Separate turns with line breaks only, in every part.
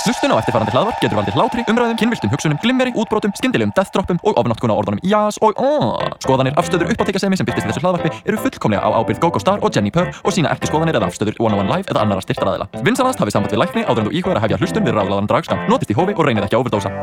Hlustun á eftirfarandi hlaðvarp getur valdið hlátri, umræðum, kynviltum hugsunum, glimmeri, útbrotum, skyndilegum deathtroppum og ofnotkun á orðunum jás og aaaah. Skoðanir, afstöður, uppáttekasemi sem byrtist í þessu hlaðvarpi eru fullkomlega á ábyrgð GoGo Star og Jenni Purr og sína ekki skoðanir eða afstöður One on One Live eða annara styrtaraðila. Vinsanast hafið samband við lækni áður en þú íhugar að hefja hlustun við ráðlaðan dragskam. Notist í hófi og reynið ekki að overdósa.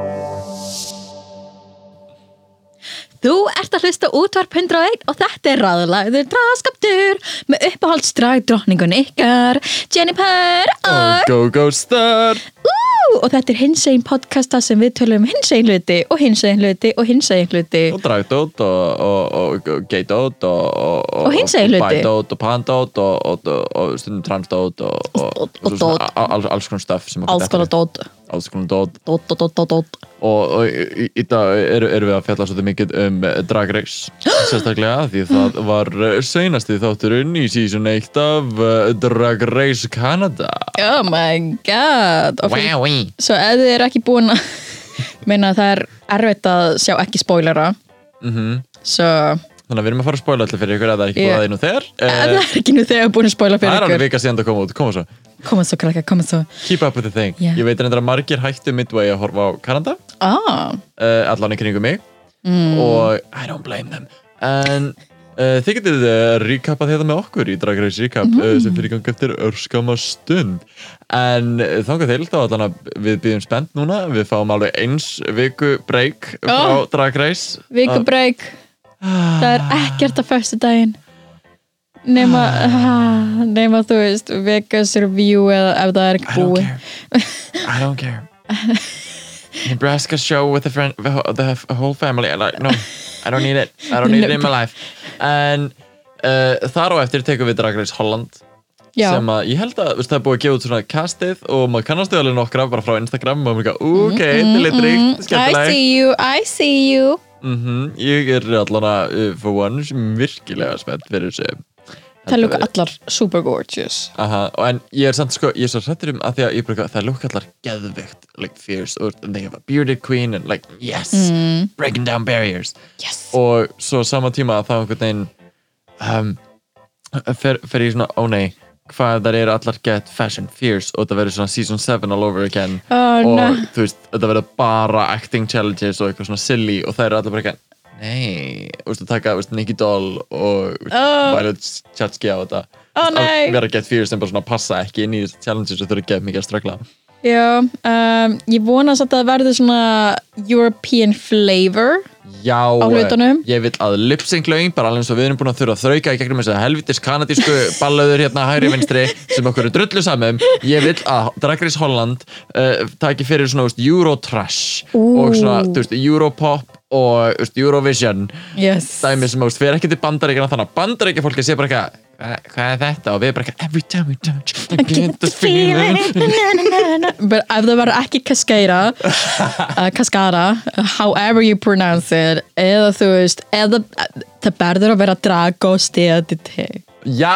Þú ert að hlusta á útvarp 101 og þetta er ráðlagður draskaptur með uppáhaldsdrag drottningun ykkar, Jennifer og...
GoGo Star.
Ú, og þetta er hinsegin podcasta sem við tölum um hinsegin hluti og hinsegin hluti og hinsegin hluti.
og dragdót og, og, og, og gaydót og, og,
Og hinsegin hluti.
bædót og pandót og, og, og, og stundum transdót og, og,
Og-
svo
og
svona
dót.
a- alls, alls konar stöf sem okkur
Alls konar
dettur í.
dót,
alls konar dót
dót, dót, dót, dót, dót.
og, og í, í dag eru er við að fjalla svolítið mikið um eh, Drag Race sérstaklega því það var eh, seinasti þátturinn í season 1 af eh, Drag Race Canada
Oh my god. ok.
Wowee.
Svo ef þið eru ekki búin að... Meina það er erfitt að sjá ekki spoilera. Mhm. Svo...
þannig að við erum að fara að spoila alltaf fyrir ykkur ef það er ekki
Yeah.
búið að það nú þegar
Ef það
Eh,
er ekki nú þegar búin að spoila
það
fyrir
er alveg
ykkur.
vika síðan það kom út koma svo
Koma svo krakka, koma svo.
Keep up with the thing
Yeah.
Ég veit reyndar að margir hættu midway að horfa á Kanada
Ah,
uh, allan í kringum mig og I don't blame them en uh, þið getið uh, recapað þetta með okkur í Drag Race Recap uh, sem fyrir gangi eftir örskama stund en uh, þangað til þá allan að við býðum spennt núna við fáum alveg eins viku break frá
Oh.
Drag Race
vikubreik. Það er ekkert á fyrstu daginn. Nema, ah, nema þú veist, vegas review eða ef það er ekki
I don't
búið.
care I don't care Nebraska show with the, friend, the, whole- the whole family I like, No, I don't need it I don't need it in my life En uh, þar á eftir tekum við Drag Race Holland
Já,
sem að ég held að veist, það er búið að gefa út svona castið og maður kannast þau alveg nokkra bara frá Instagram og maður er ekki ok, þetta er litt
mhm.
ríkt,
I
skemmtilegt
see you, I see you.
mm ég er allan að uh, for one sem virkilega spennt fyrir þessu
Það lúka
verður-
allar super gorgeous.
Aha, og en ég er samt sko, ég er svo hrættur um að því að ég bruka, það lúk allar geðvikt like fierce, or they have a bearded queen and like, yes, breaking down barriers
Yes.
og svo sama tíma að það einhvern veginn um, fer, fer ég svona, ó nei hvað þar eru allar get fashion fierce og það verður svona season 7 all over again
Ó,
og
nei.
þú veist, þetta verður bara acting challenges og eitthvað svona silly og það eru allar bara ekki nei, þú veist, að taka þú veist, Nicky Doll og þú veist,
Ó.
Violet Chachki á þetta
Ó,
Þú veist, að
nei.
vera get fierce sem bara svona passa ekki inn í þessi challenges og þau eru get mikið að ströggla
Já, um, ég vona samt að það verður svona European flavor.
Já, eh,
hlutunum?
ég vil að lipsynklaugin bara alveg eins og við erum búin að þurfa að þrauka í gegnum þess að helvitis kanadísku ballöður hérna hægri vinstri sem okkur er drullu saman ég vil að Drag Race Holland uh, taki fyrir svona veist, Eurotrash og svona þú veist, Europop og þú veist, Eurovision
Yes.
dæmi sem þú veist, við erum ekki til bandaríkjana þannig að bandaríkja fólki sé bara eitthvað "Hva- hvað er þetta og við erum bara eitthvað every time we touch I get the feeling
But ef það verður ekki kaskæra uh, kaskara, however you pronounce it eða þú veist eða, það verður að vera drag og stediti
Já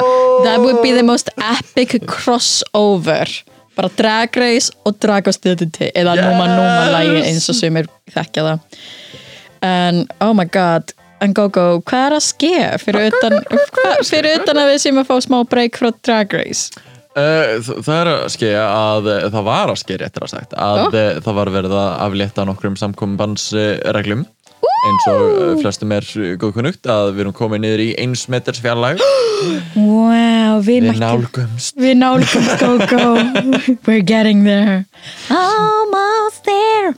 Oh.
that would be the most epic crossover bara drag race og drag og stediti eða
Yes.
núma núma lægi eins og sem er þekkja það en oh my god en Gogo, hvað er að ske fyrir utan, hva, fyrir utan að við séum að fá smá break frá Drag Race?
Uh, þ- það er að skeja að uh, það var að skeja réttir að sagt að
Ó.
uh, það var verið að aflétta nokkrum samkombansreglum eins og uh, flestum er uh, góðkunnugt að við erum komið niður í eins meters fjarlæg
Wow, við
við
mættum
nálgumst
Við nálgumst GoGo We're getting there Almost there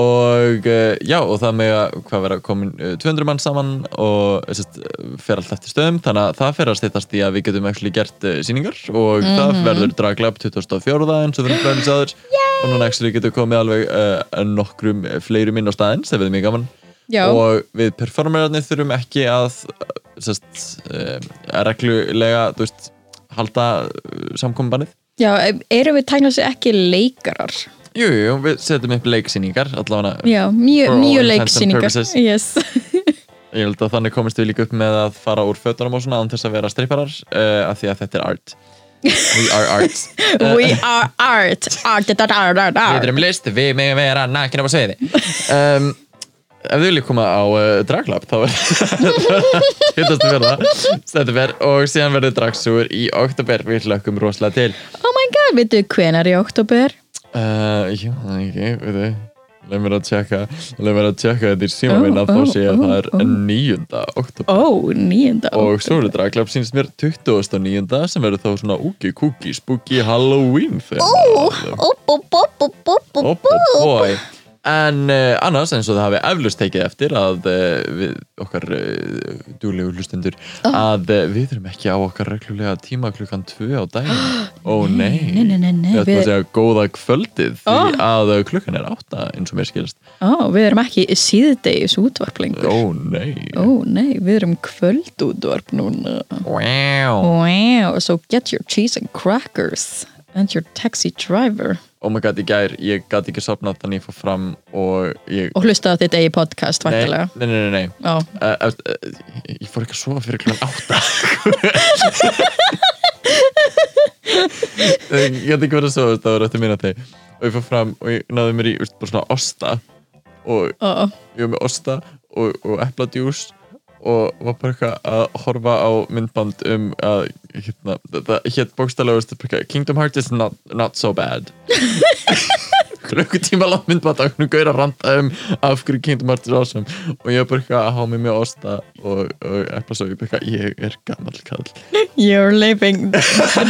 og uh, já og það með að hvað vera komin uh, 200 mann saman og uh, sest, uh, fer allt eftir stöðum þannig að það fer að stýttast í að við getum ekki gert uh, síningar og það verður draglab 2004 eins og við erum fræðins aður og núna ekki getum komið alveg uh, nokkrum fleirum inn á staðinn sem við er mjög gaman
Já.
og við performerarnir þurfum ekki að uh, sest, um, að reglulega þú veist, halda eh, samkombannið
Já, erum við tæknað sér ekki leikarar?
Jú, jú, jú, við setjum upp leiksýningar allavega
Já,
For
mjög
all
mjö
intents and
leiksýningar
purposes. Uh,
yes.
Ég held að þannig komist við líka upp með að fara úr fötunum og svona án þess að vera stripparar uh, af því að þetta er art We are art
We are art Art, art, art, art,
Við
art
erum list, við megum vera nakin á sviði um, Ef þið viljið koma á uh, draglab þá er hittast við verða september og síðan verður dragsúr í oktober við hlökkum rosalega til
Oh my god, veitu hvenar í oktober?
Uh, ég man það ekki, veit þið. Leif mér að tjekka, leif mér að tjekka þetta í síma
Ó,
minn að
ó,
þá sé ég að
ó,
það er
ó.
9. oktober.
Ó, nýjenda
Og svo er draglapp sínst mér 29. sem verður þá svona úki kúki spooky Halloween þegar.
oktober
boy. En uh, annars eins og það hafi eflust tekið eftir að uh, við okkar uh, dúlegu hlustendur að uh, við þurfum ekki á okkar reglulega tíma klukkan 2 á daginn. Ó nei,
nei, nei, nei, nei,
við ætlum
við-
að segja góða kvöldið því
Ó.
að uh, klukkan er 8 eins og mér skilst.
Ó, við erum ekki síðdegis útvarp lengur
Ó nei.
Ó, nei, við erum kvöldútvarp núna
Wow.
Wow, so get your cheese and crackers and your taxi driver
Oh my god, í gær, ég gæti ekki sopnað þannig að ég fór fram og ég...
og hlusta á þitt eigi podcast,
nei,
vantilega
nei, nei, nei, nei.
Já,
Uh, uh, uh, ég fór ekki að sofa fyrir klukkan átta ég gæti ekki verið að sofa það var eftir mínúti og ég fór fram og ég náði mér í veist, bara svona osta og
ó,
ég var með osta og, og epladjús og var bara eitthvað að horfa á myndband um að hérna, það hétt bókstallegust Kingdom Hearts is not, not so bad klukkutíma langt myndband að hún gauðir að randa um af hverju Kingdom Hearts is awesome og ég var bara eitthvað að há mig með osta og, og eplasöf, ég bara eitthvað, ég er gammal kall
You're living the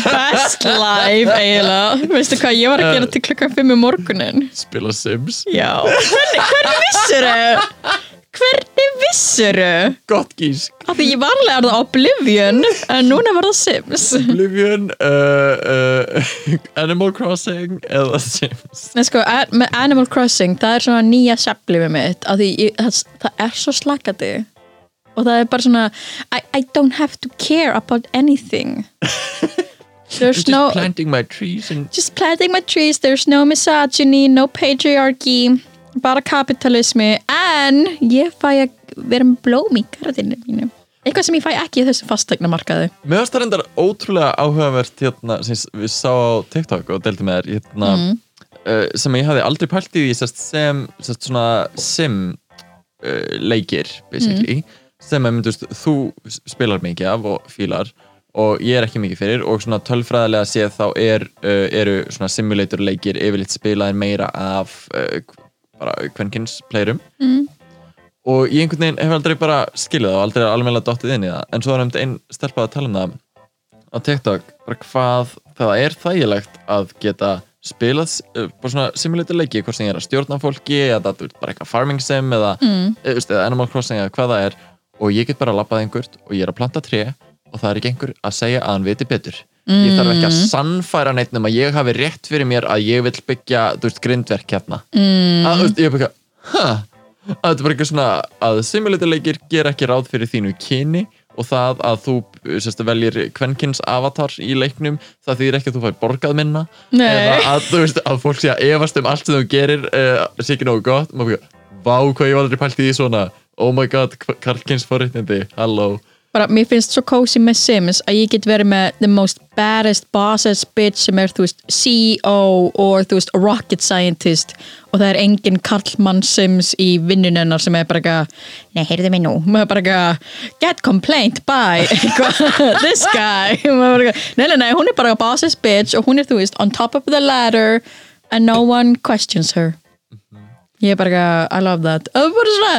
best life eiginlega Veistu hvað ég var að gera til klukkan 5 í morgunin?
spila Sims,
Já Hvernig, hvernig vissuru? Hvernig vissuru?
gott gísk
Af því ég vanlega er það Oblivion en núna var það Sims
Oblivion uh, uh, Animal Crossing eða Sims
Nei sko, a- með Animal Crossing það er svona nýja seflimi mitt af því ég, það, það er svo slakandi og það er bara svona I, I don't have to care about anything There's
just
no
planting my trees and
just planting my trees, there's no misogyny, no patriarchy, bara kapitalismi, en ég fæ að vera með blóm í garðinu mínu. Eitthvað sem ég fæ ekki í þessu fastegnamarkaði.
Mér varst það reyndar ótrúlega áhugavert hérna, sem við sá á TikTok og deltum með þér hérna, uh, sem ég hafði aldrei pælt í því sest, sem sest, svona sim uh, leikir basically sem að myndust þú spilar mikið af og fílar og ég er ekki mikið fyrir og svona tölfræðilega séð þá er, uh, eru svona simulator leikir yfirleitt spilaðir meira af uh, bara kvenkins playrum og ég einhvern veginn hef aldrei bara skilið það og aldrei alveg dottið inn í það en svo er nefndi einn stelpað að tala um það á TikTok, bara hvað það er þægilegt að geta spilað uh, bara svona simulator leiki hvort sem ég er að stjórna fólki eða þú veist, bara eitthvað farming sim eða, mm. eða Animal Crossing eða hvað það er og ég get bara labbað einhvert og ég er að planta tré og það er ekki einhver að segja að hann viti betur ég þarf ekki að sannfæra neitt um að ég hafi rétt fyrir mér að ég vil byggja þú veist, grindverk hérna mm. að, þú veist, ég er bara eitthvað, "Ha?" að þetta er bara eitthvað svona að simulatorleikir gera ekki ráð fyrir þínu kyni og það að þú sérst, veljir kvenkins avatar í leiknum það þýðir ekki að þú fær borgað minna
Nei.
eða að, þú veist, að fólk sé að efast um allt sem þú gerir uh, sé ekki nógu gott maður fyrir, vá hvað ég var aldrei pælt í því svona oh my god, karlkins forréttindi halló
Bara, mér finnst svo cozy með Sims að ég get verið með the most baddest bossest bitch sem er, þú veist, CEO og, þú veist, rocket scientist og það er engin Karlmann Sims í vinnunennar sem er bara eitthvað, nei, heyrðu mig nú, maður er bara eitthvað, get complaint, bye, Eitthvað, this guy, maður er bara eitthvað, nei, nei, nei, hún er bara bossest bitch og hún er, þú veist, on top of the ladder and no one questions her. Ég er bara eitthvað, I love that. Og bara svona,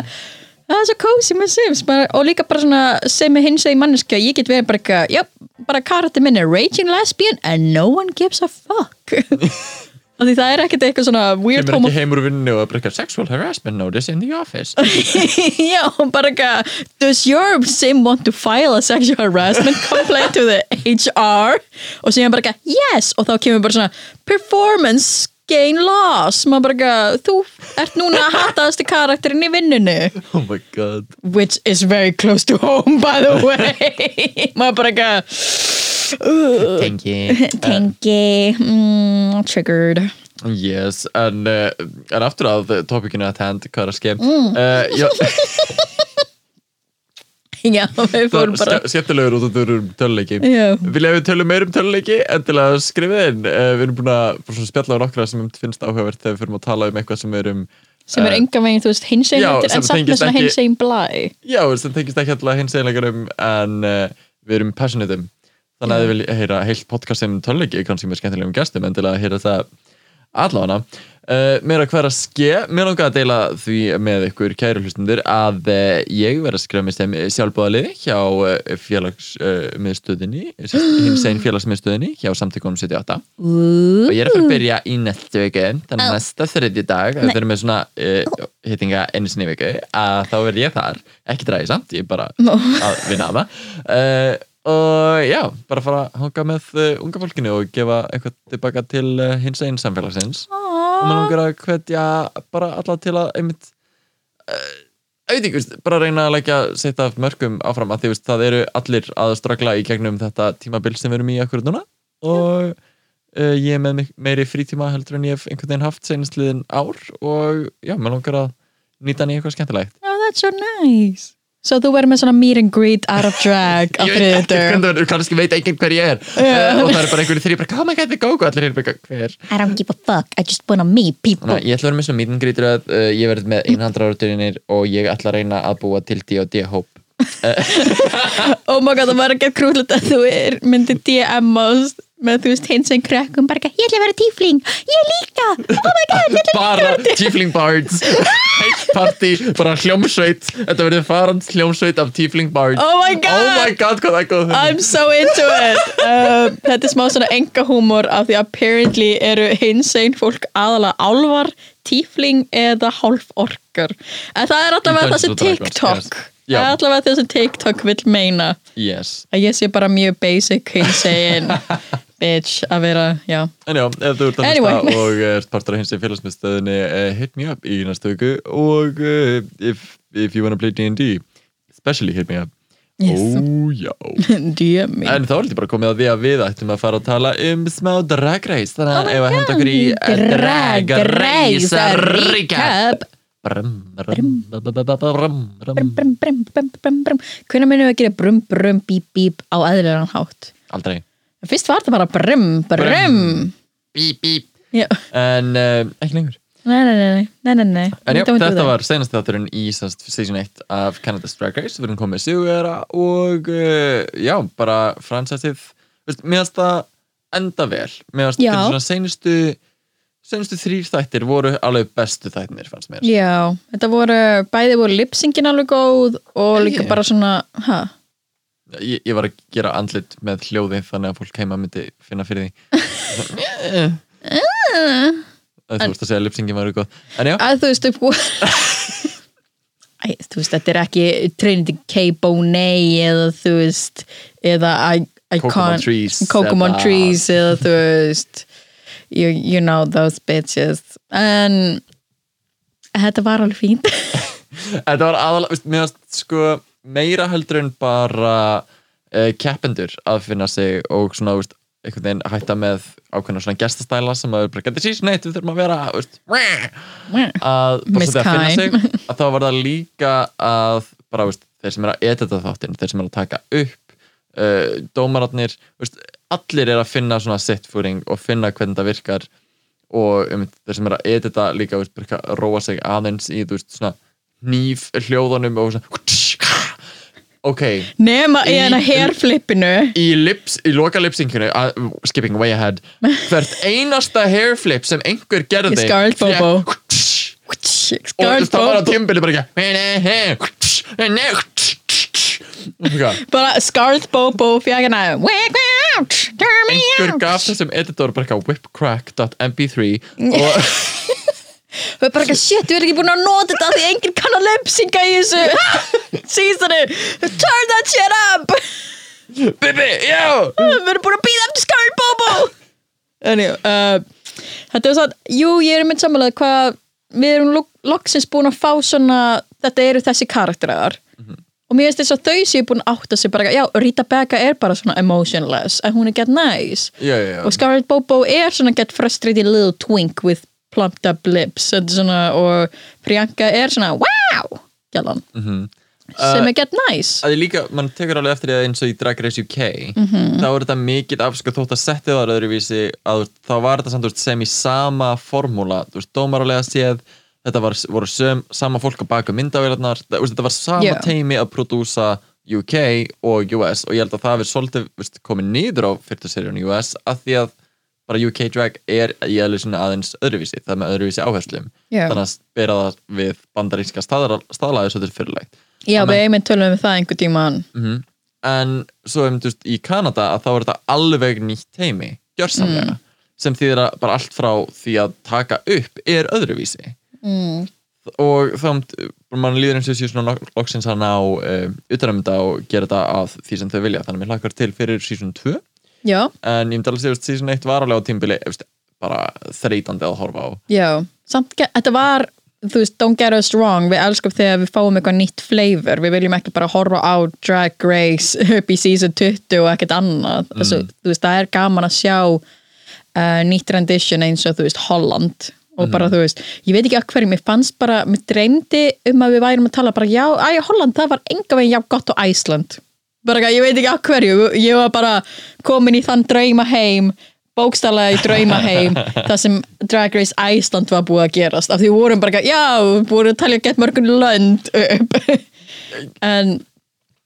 það er svo cozy með Sims bara, og líka bara svona sem er hins egin manneskja, ég get verið bara eitthvað, já, bara karatinn minn er raging lesbian and no one gives a fuck. Af Því það er ekkert eitthvað svona weird
kemur
homo...
ekki heimur úr vinnu og breyka sexual harassment notice in the office
já, bara eitthvað, does your Sim want to file a sexual harassment complaint to the HR? Og síðan bara eitthvað, yes, og þá kemur bara svona performance gain loss. Maður bara eitthvað, þú ert núna að hataðasti karakterinn í vinnunni.
oh my god
which is very close to home by the way maður bara eitthvað
tengi
tengi, mm, triggered
Yes, en, uh, en aftur að topikinu at hand, hvað er að skemm mm. uh, já,
já, við fórum bara
ske- skemmtilegur út að þú eru um töluleiki
Já.
Vilja við tölum meir um töluleiki en til að skrifa inn uh, við erum búin að bara svona spjalla á nokkra sem finnst áhugavert þegar við fyrir að tala um eitthvað sem er um
sem er enga veginn, þú veist, hinsegin
já,
hættir
sem
en samt
tengist
með svona
ekki-
hinsegin blæ
já, sem tengist ekki alltaf hins einleikarum en uh, við erum passionate um þannig að þið vilja heyra heilt podcast sem töluleiki kannski með skemmtilegum gestum en til að heyra það Allána, uh, mér að hverja ske, mér langar að deila því með ykkur kæru hlustundur að uh, ég verð að skrifa mig sem sjálfbúðaliði hjá uh, félagsmiðstöðinni, uh, hins einn félagsmiðstöðinni hjá samtökunum 78 og ég er að fara að byrja í næstu viku þannig að næsta þriðji dag ef við erum með svona uh, hittinga einu sinni í viku að þá verð ég þar, ekki dræði samt ég er bara
Nó.
að vinna að það uh, og já, bara fara að hanga með uh, unga fólkinu og gefa eitthvað tilbaka til uh, hins einn samfélagsins og maður langar að hvetja bara alla til að einmitt uh, auðvitað, veist, bara reyna að leggja sitt af mörgum áfram að því veist, það eru allir að stragla í gegnum þetta tímabil sem við erum í akkur núna og uh, ég er með mik- meiri frítíma heldur en ég hef einhvern veginn haft seinastliðin ár og já, maður langar að nýta hann í eitthvað skemmtilegt
Oh, that's so nice. Svo þú verður með svona meet and greet out of drag á
Ég veit ekkert
þriðutum.
hvernig það er, kannski veit enginn hver ég er uh, og það er bara einhverju þrý, bara, oh my god, þið góð, allir er bara, hver
I don't give a fuck, I just wanna meet people.
Þannig að ég ætla að vera með svona mítingrýtur að uh, ég verð með einhandráruturinir og ég ætla að reyna að búa til D&D hóp
Oh my god, það var ekki að krúlita að þú er myndi DM ást með þú veist hins einn krekkum bara ekki, ég ætla að vera tífling, ég líka, oh my god, ég ætla
bara Tiefling Bards heitt party, bara hljómsveit þetta verður farand hljómsveit af Tiefling Bards
Oh my god.
oh my god hvað það er góð hugmynd.
I'm so into it um, Þetta er smá svona enga húmor af því apparently eru hinsegin fólk aðalega álvar, tífling eða hálf orkar en það er allavega það sem
Dungeons and Dragons,
TikTok
yes. Já.
það er allavega það sem TikTok vill meina
yes.
að ég sé bara mjög basic hinsegin bitch að vera, já
en já, ef þú ert að hlusta
Anyway.
og eh, ert partur af hins í félagsmyndstöðinni uh, hit me up í næstu viku og uh, if, if you wanna play D&D especially hit me up
Yes.
oh já
DM me
En þá er þetta bara komið að því að við ættum að fara að tala um smá drag race Þannig
Oh
að ef að henda okkur í
Drag Race
Recap
Recap brum, brum, brum, brum, brum. Hvernig munum við að gera brum, brum, bíp, bíp á aðlilegan hátt?
Aldrei
Fyrst var það bara brum, brum,
Brum. Bíp, bíp
Já,
En eh, ekki lengur
nei, nei, nei, nei, nei, nei.
En já,
We don't do
þetta
that.
var senast þátturinn í semst, season 1 af Canada's Drag Race Við erum komið sigurvera og uh, já, bara fransættið Mér finnst það enda vel Mér finnst
Já.
fyrir svona senustu senustu þrýr þættir voru alveg bestu þættinir fannst mér
Já, þetta voru, bæði voru lipsingin alveg góð og
Hell
líka
yeah.
bara svona, hæ,
ég, ég var að gera andlit með hljóði þannig að fólk heima myndi finna fyrir því Það þú veist að segja að lipsingin var góð En já,
að þú veist upp Æ, þú veist, þetta er ekki Trinity K. Bonet eða þú veist, eða I, Icon,
Kokomo Trees
Kokomo
eða-
Trees eða þú veist you, you know those bitches en þetta var alveg fínt
þetta var aðalega veist, mér varst sko meira heldur en bara uh, keppendur að finna sig og svona veist, einhvern veginn hætta með ákveðna svona gestastæla sem að bara getur síst neitt, við þurfum að vera veist, að bara
Miss
svolítið að finna
Kine.
sig að þá var það líka að bara, veist, þeir sem er að edita þáttinn þeir sem er að taka upp uh, dómararnir, veist, allir er að finna svona sittfúring og finna hvernig það virkar og um, þeir sem er að edita líka veist, bara eitthvað að róa sig aðeins í þú veist, svona nýf hljóðunum og svona ok,
nema
Í-
í hana hairflippinu
í, lips, í loka lipsynkinu uh, skipping way ahead hvert einasta hairflip sem einhver gerði
Í Scarlett Bobo.
fékk- og
Scarlet
það var á
Bobo
tímbili bara ekki
bara Scarlet Bobo fyrir hana wake me out, turn me
einhver
out
gaf þessum editor bara eitthvað whipcrack.mp3 og
Við erum bara ekki að shit, við erum ekki búin að nota þetta af því enginn kann að lepsinga í þessu síðan turn that shit up
Bibi, já
við erum búin að býða eftir Scarlet Bobo Anyway, uh, þetta er satt, jú ég er mynd samanlega hvað við erum lo loksins búin að fá svona þetta eru þessi karakterar og mér finnst þess að þau séu búin að átta sig bara, já Rita Becca er bara svona emotionless en hún er get nice
Já, já, já.
og Scarlett Bobo er svona get frustrated little twink with plumped up lips Þetta er svona, og Priyanka er svona wow gælan sem er get nice
að ég líka, mann tekur alveg eftir því að eins og í Drag Race UK
Mhm.
þá er þetta mikið af sko þótt að setja það öðruvísi að þú veist, þá var þetta samt þú veist, sem í sama formúla, þú veist, dómarálega séð þetta var, voru söm, sama fólk að baka myndavélarnar, það- þú veist, þetta var sama
Já.
teimi að prodúsa UK og US og ég held að það hefur svolítið þú veist, komið niður á fyrtu seríun US að því að bara UK drag er í aðlið sinna aðeins öðruvísi, það er með öðruvísi áherslum
Já.
þannig að bera það við bandaríska staðlaði svo þetta er fyrirlegt
Já,
Þannig-
við einmitt tölum við það einhver tíman
en svo um, veist, í Kanada að þá er þetta alveg nýtt heimi gjörsamlega,
Mm.
sem þýðir að bara allt frá því að taka upp er öðruvísi
mm.
og þá mann líður eins og sé svona nok- loksins að ná um, utanumda og gera þetta að því sem þau vilja þannig að mér hlakkar til fyrir season 2
Já,
en ég myndi alveg segja að season 1 var alveg á tímbili efst, bara þreytandi að horfa á
já Samt, ge- þetta var, þú veist, don't get us wrong Við elskum þegar við fáum eitthvað nýtt flavor Við viljum ekki bara horfa á Drag Race upp í season 20 og ekkert annað Þessu, Þú veist, það er gaman að sjá uh, nýtt rendition eins og, þú veist, Holland og bara, þú veist, ég veit ekki að hverju mér fannst bara, mér dreymdi um að við værum að tala bara, já, æja, Holland, það var enga veginn já gott og Æsland bara, eitthvað, ég veit ekki að hverju, ég var bara komin í þann drauma heim bókstallega í drauma heim það sem Drag Race Æsland var búið að gerast af því við vorum bara, eitthvað, já, við vorum að um talja gett mörgun lönd upp en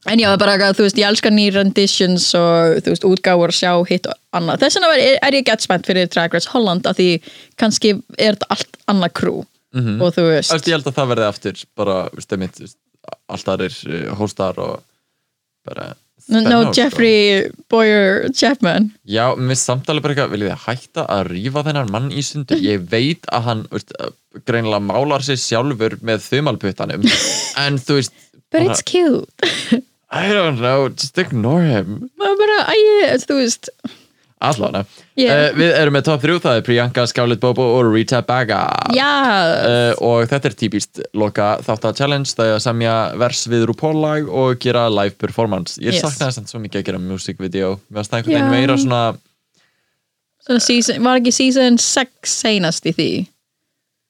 En já, það er bara eitthvað, þú veist, ég elska nýr renditions og þú veist, útgáfur sjá hitt og annað. Þess vegna er, er ég gett spennt fyrir Drag Race Holland af því kannski er þetta allt annað krú og þú veist,
Æst, ég held að það verði aftur bara stemmit alltaf er eh, hóstar og bara sko.
no, no
spenna og-
Jeffrey Boyer Chapman.
Já, mér samtali bara eitthvað, viljið þið hætta að rífa þennan mann í sundur? Ég veit að hann veist, uh, greinilega málar sér sjálfur með þumalputtanum, en þú veist,
But it's cute.
I don't know, just ignore him.
Maður bara, æ, þú veist,
Allána.
Yeah.
Uh, við erum með top 3, það er Priyanka, Scarlett Bobo og Rita Baga.
já,
Eh, og þetta er típist loka þátt að challenge það er að semja vers við RuPaul-lag og gera live performance ég
Yes.
yes. saknaði þess svo mikið að gera music video mér varst það einhvern veginn
Já.
meira svona
svona season, var ekki season 6 seinast í því?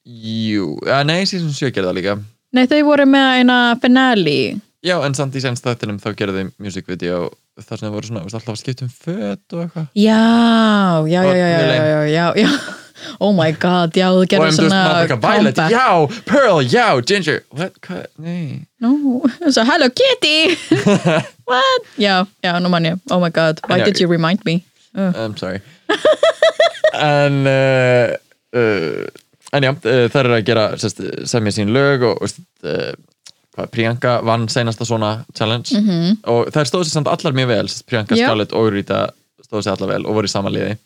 jú, ja, nei, season 7 gerði það líka
Nei, þau voru með eina finale.
já, en samt í senst þættinum þá gerði þau music video þar sem þau voru svona, veist, alltaf að skipta um föt og eitthvað
Já, já,
Og
já, já, já,
Villain.
já, já, já. Oh my god, já, þú
og
gerður
um, þú veist, maður
svona
eitthvað Violet,
comeback.
já, Pearl, já, Ginger what, hvað, nei
No, so hello kitty What? Já, já, nú mann ég Oh my god, why
Já,
did you remind me? Uh,
I'm sorry Um, en uh, uh, en já, uh, það er að gera sest, semja sín lög og veist, uh, hvað, Priyanka vann seinasta svona challenge -hmm. og þær stóðu sér samt allar mjög vel sest, Priyanka,
Mhm. Já.
Scarlett og Rita stóðu sér allar vel og voru í sama liði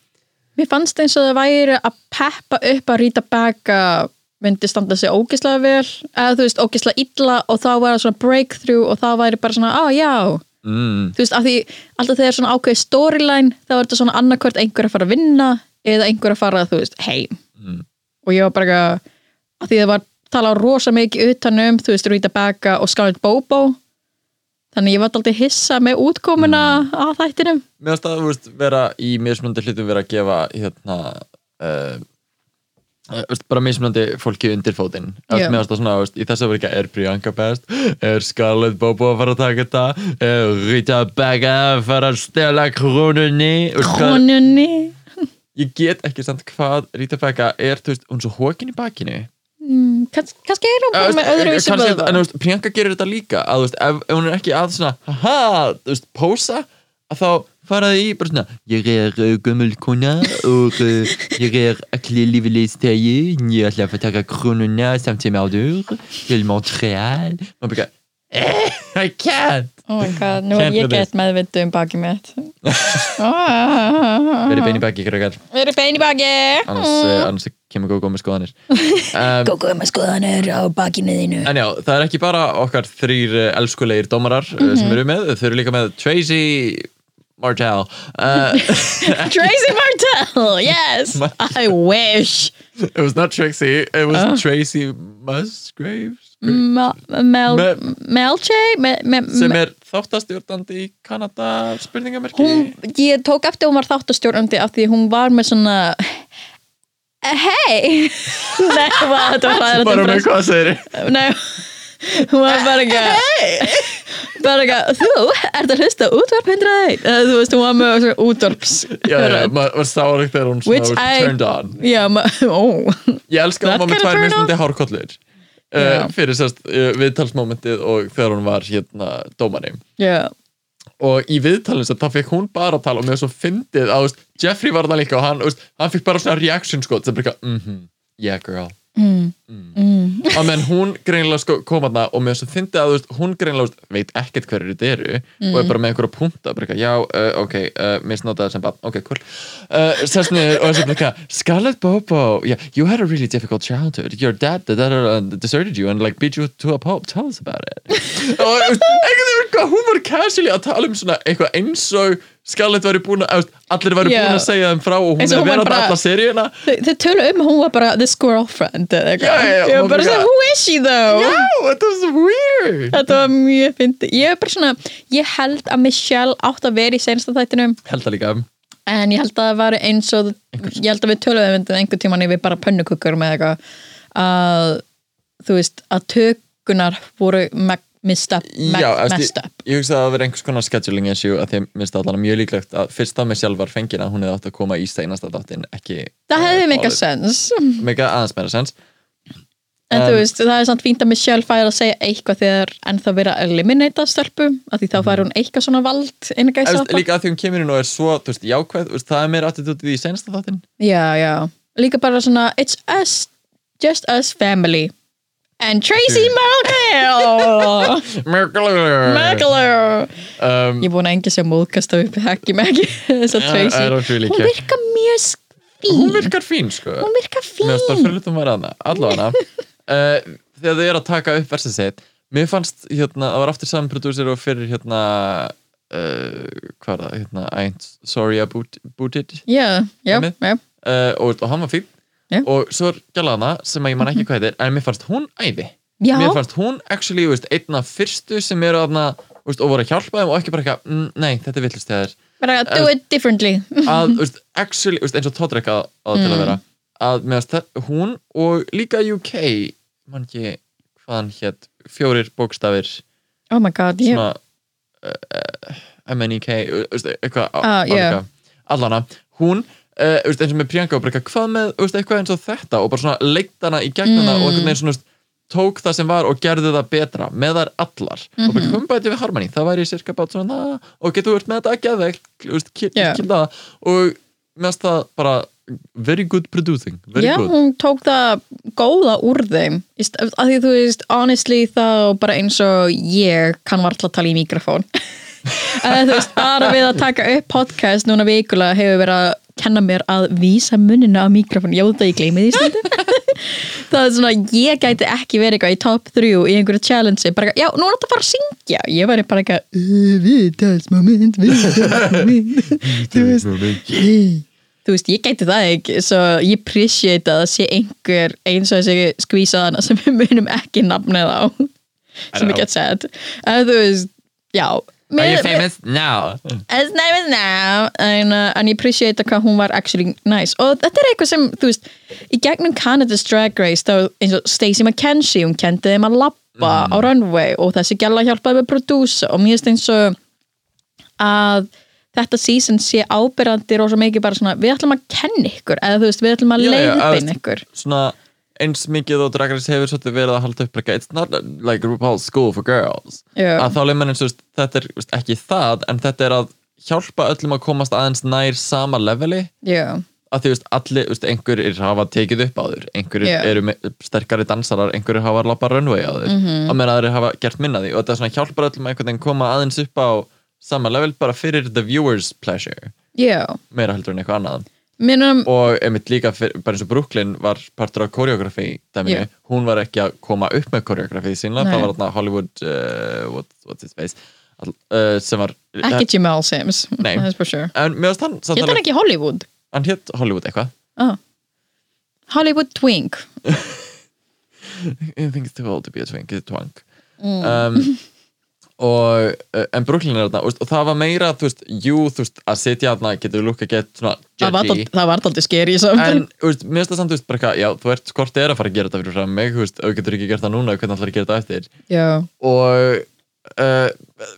Mér fannst eins og það væri að peppa upp að rýta baka myndi standa sig ógislega vel eða þú veist, ógislega illa og þá væri svona breakthrough og þá væri bara svona, á já
mm.
þú veist, af því alltaf þegar svona ákveði storyline þá er þetta svona annarkvört einhver að fara að vinna eða einhver að fara, þú veist, heim
Mm.
og ég var bara eitthvað af því það var talað rosa mikið utanum þú veist, Rita Baga og Scarlett Bobo þannig ég var alltaf hissa með útkomuna
Mm.
á þættinum
mér finnst það þú veist, vera í mismunandi hlutum vera að gefa hérna uh, uh, veist, bara mismunandi fólki undir fótinn
Já.
yeah. mér finnst það svona, veist, í þessu verið ekki er Priyanka best, er Scarlett Bobo að fara að taka þetta er Rita Baga að fara að stela krónunni Veist, hvað-
konunni
ég get ekki samt hvað Rita Baga er, þú veist, hún er svo hókin í bakinu
Mm, kanns- kannski er
Eða,
hún bara
veist,
með öðru vissi
kannski- en, þú veist, Priyanka gerir þetta líka að, þú veist, ef, ef hún er ekki að svona haha, þú veist, pósa að þá faraði í bara svona ég er uh, gömul kona og uh, ég er allir lífilegstegi ég ætla að fá að taka krónuna samt sem áður til Montreal og bara eh, I can't
oh my god, nú er
Kennt
ég
með
gett meðvittu um bakið mitt Ah,
verið bein í baki krakkar
verið bein í bakið
annars, uh, annars kemur góð góð með skoðanir um,
Gókuð með skoðanir á bakinu þínu
En já, það er ekki bara okkar þrýr eh, elskulegir dómarar mm
Mhm.
sem eru með, þau eru líka með Tracy Martell uh,
Tracy Martell, yes I wish
It was not Trixie, it was
Ah.
Tracy Musgraves
Ma- Mel
Me-
Melche me- me-
sem
me-
er þáttastjórnandi í Kanada spurningamerki
hún, ég tók eftir að hún var þáttastjórnandi af því hún var með svona hei nei, vá, þetta var hræðilegt
bara með
impress.
hvað segir
nei, hún var bara ekki bara ekki, þú ert að hlusta á útvarp 101 Eða, þú veist, hún var með svona útvarps
Já, já, maður maður sá ekki þegar hún
Which
svona
I-
turned on
já, ma- ó
Ég elska að
That
hún var með
kinda
tvær
turned
mismundi hárkollur Eh,
Já.
uh, fyrir sérst uh, viðtalsmomentið og þegar hún var hérna dómari
já,
og í viðtalinu sem það fekk hún bara að tala og mér er svo fyndið að þú veist, Jeffrey var það líka og hann, þú veist, hann fekk bara svona reaction sko, sem bara, mm -hmm, yeah girl mm. Mm. og menn hún greinilega sko, kom að það og mér er svo fyndið að þú veist, hún greinilega þú veist, veit ekkert hverju þetta eru
Mm.
og er bara með einhverja punta bara, eitthvað, já, uh, ok, uh, misnotaði sem bara, ok, cool uh, sest niður og þess að Scarlett Bobo, yeah, you had a really difficult childhood your dad da, da, da, da, deserted you and like beat you to a pulp, tell us about it og þú veist, einhvern veginn hvað hún var casually að tala um svona eitthvað eins og Scarlett væri búin að, þú veist, allir væri
Já.
búin að segja þeim frá og hún
Eins
er að
og hún
vera
væri
bara
bara-
alla seríuna
Þau, þau tölu um að hún var bara the squirrel friend eða eitthvað.
Já, já, já,
Ég var
hún
bara
var
svona,
bara-
who is she though?
no, that was weird
Þetta var mjög fyndið. Ég er bara svona, ég held að Michelle átt að vera í sensta þættinum
held það líka
en ég held að það var eins og ég held að við töluðum um þetta einhver tíman yfir bara pönnukukkur með eitthvað að þú veist að tökunar voru me- messed up, me-
Já, eftir-
messed up.
ég hugsa að það verið einhvers konar scheduling issue að þeim minnst allan mjög líklegt að fyrst það með sjálf var fengina hún hefði átt að koma í steinasta þáttin ekki
Það hefði
eh, bálið.
mikið sens
Mega aðeins meira sens
en
En-
þú veist það er samt fínt að Michelle fær að segja eitthvað þegar en það verið að eliminata stelpu af því þá fær hún eitthvað svona vald inn að
Mhm. Þú
gæsa
veist, líka að því hún kemur inn og er svo þú veist, jákvæð, þú veist, það er meira attitútið í senasta þáttin
Já, já. Líka bara svona It's us, just us family and Tracy Mounhill
Merkle
Magler
um,
Ég er búin að enga sem múðkast upp hekki með ekki þessa
I-
Tracy
I don't really
Hún
care.
virka mjög fín
hún virkar fín sko
Hún virkar fín
Mér finnst það fyrir um að hana, allavega uh, Þegar þau eru að taka upp versið sitt Mér fannst, hérna, það var aftur saman prodúsir og fyrir, hérna uh, Hvað var það, hérna, I ain't sorry about, about it
Já, já,
Einmitt.
já
uh, og, og hann var fín
Já. Mhm.
Og svo er gælaðana sem að ég man ekki hvað heitir En mér fannst hún æði
Já.
Mér fannst hún, actually, þú veist, einna fyrstu sem eru aðna Veist, og voru að hjálpa þeim og ekki bara eitthvað "Mm, nei, þetta er villust þegar
Bara do it differently
að, þú veist, actually, þú veist, eins og Todrick að, að
Mhm.
til að vera að mér varst það, hún og líka UK mann ekki hvaðan hétt fjórir bókstafir
Oh my god, ég
svona eh, uh, MNEK þú veist, eitthvað
Ah,
á-
já.
álíka. allana, hún uh, veist, eins og með Priyanka og bara eitthvað, hvað með þú veist, eitthvað eins og þetta og bara svona leitt hana í gegnum það og einhvern
Mm.
veginn svona þú veist, tók það sem var og gerði það betra með þær allar og
Mhm.
bara kom bæti við harmoni það væri cirka bát svona og getur þú verið með þetta að geðvegt
Já.
yeah. og mest það bara very good producing very
Já,
good.
hún tók það góða úr þeim Í stað- af því þú veist, honestly þá bara eins og ég kann varla að tala í mikrofón Eh, þú veist, bara við að taka upp podcast núna vikulega hefur verið að kenna mér að vísa munnina á mikrofón ég veit að ég gleymi því stundum það er svona, ég gæti ekki verið eitthvað í top 3 í einhverju challenge bara, eitthvað, já, nú er þetta bara að syngja ég væri bara eitthvað, "Eh, viðtalsmoment viðtalsmoment þú veist þú veist, ég gæti það ekki svo ég appreciate að það sé einhver eins og þessi skvísaðana sem við munum ekki nafnið á sem
know.
er gett sett en þú veist, já
Are you
Mér-
famous now?
as name is now en, uh, en ég appreciate hvað hún var actually nice Oh, og þetta er eitthvað sem, þú veist í gegnum Canada's Drag Race þá eins og Stacey McKenzie, hún kendi þeim að labba á runway og þessi gæla hjálpaði með prodúsa og mér finnst eins og að þetta uh, season sé ábyrrandi rosa mikið bara svona, við ætlum að kenna ykkur eða þú veist, við ætlum að
Já, já,
leiðbeina
að-
ykkur
svona eins mikið og Drag Race hefur svolítið verið að halda upp like, it's not like RuPaul's school for girls
Já.
að þá leið mann eins og veist, þetta er veist, ekki það en þetta er að hjálpa öllum að komast aðeins nær sama leveli
já,
að því veist, allir, veist, einhverjir hafa tekið upp á þur, einhverjir
Já.
eru með, sterkari dansarar, einhverjir hafa lappa runway á þur, mm
Mhm.
-hmm. að meðan aðrir hafa gert minna af því og þetta er svona hjálpar öllum að einhvern veginn koma aðeins upp á sama level bara fyrir the viewers pleasure
já
meira heldur en eitthvað annað
minnum,
og einmitt líka fyr, bara eins og Brooklyn var partur af koreografi dæminu,
Já.
hún var ekki að koma upp með koreografi sínlega,
Nei.
það var þarna Hollywood uh, what, what's his face all, uh, sem var
ekki Jamal Sims
Nei.
that's for sure,
en mér varst hann, samt
ég
alveg-
þannig ekki Hollywood
hann hétt Hollywood eitthvað
ah. Hollywood Twink
I think it's too old to be a twink, it's a twunk
Mm.
um, og uh, en Brooklyn er þarna, og, og það var meira þú veist, jú, þú veist, að sitja þarna getur lukka gett svona
það var,
judgy
dál- það var aldrei skeri í samtali
en, þú veist, mér finnst það samt, þú veist, bara eitthvað já, þú ert, hvort er að fara að gera þetta fyrir fram mig, þú veist, og getur ekki gert það núna, hvernig ætlar að gera þetta eftir
já,
og uh,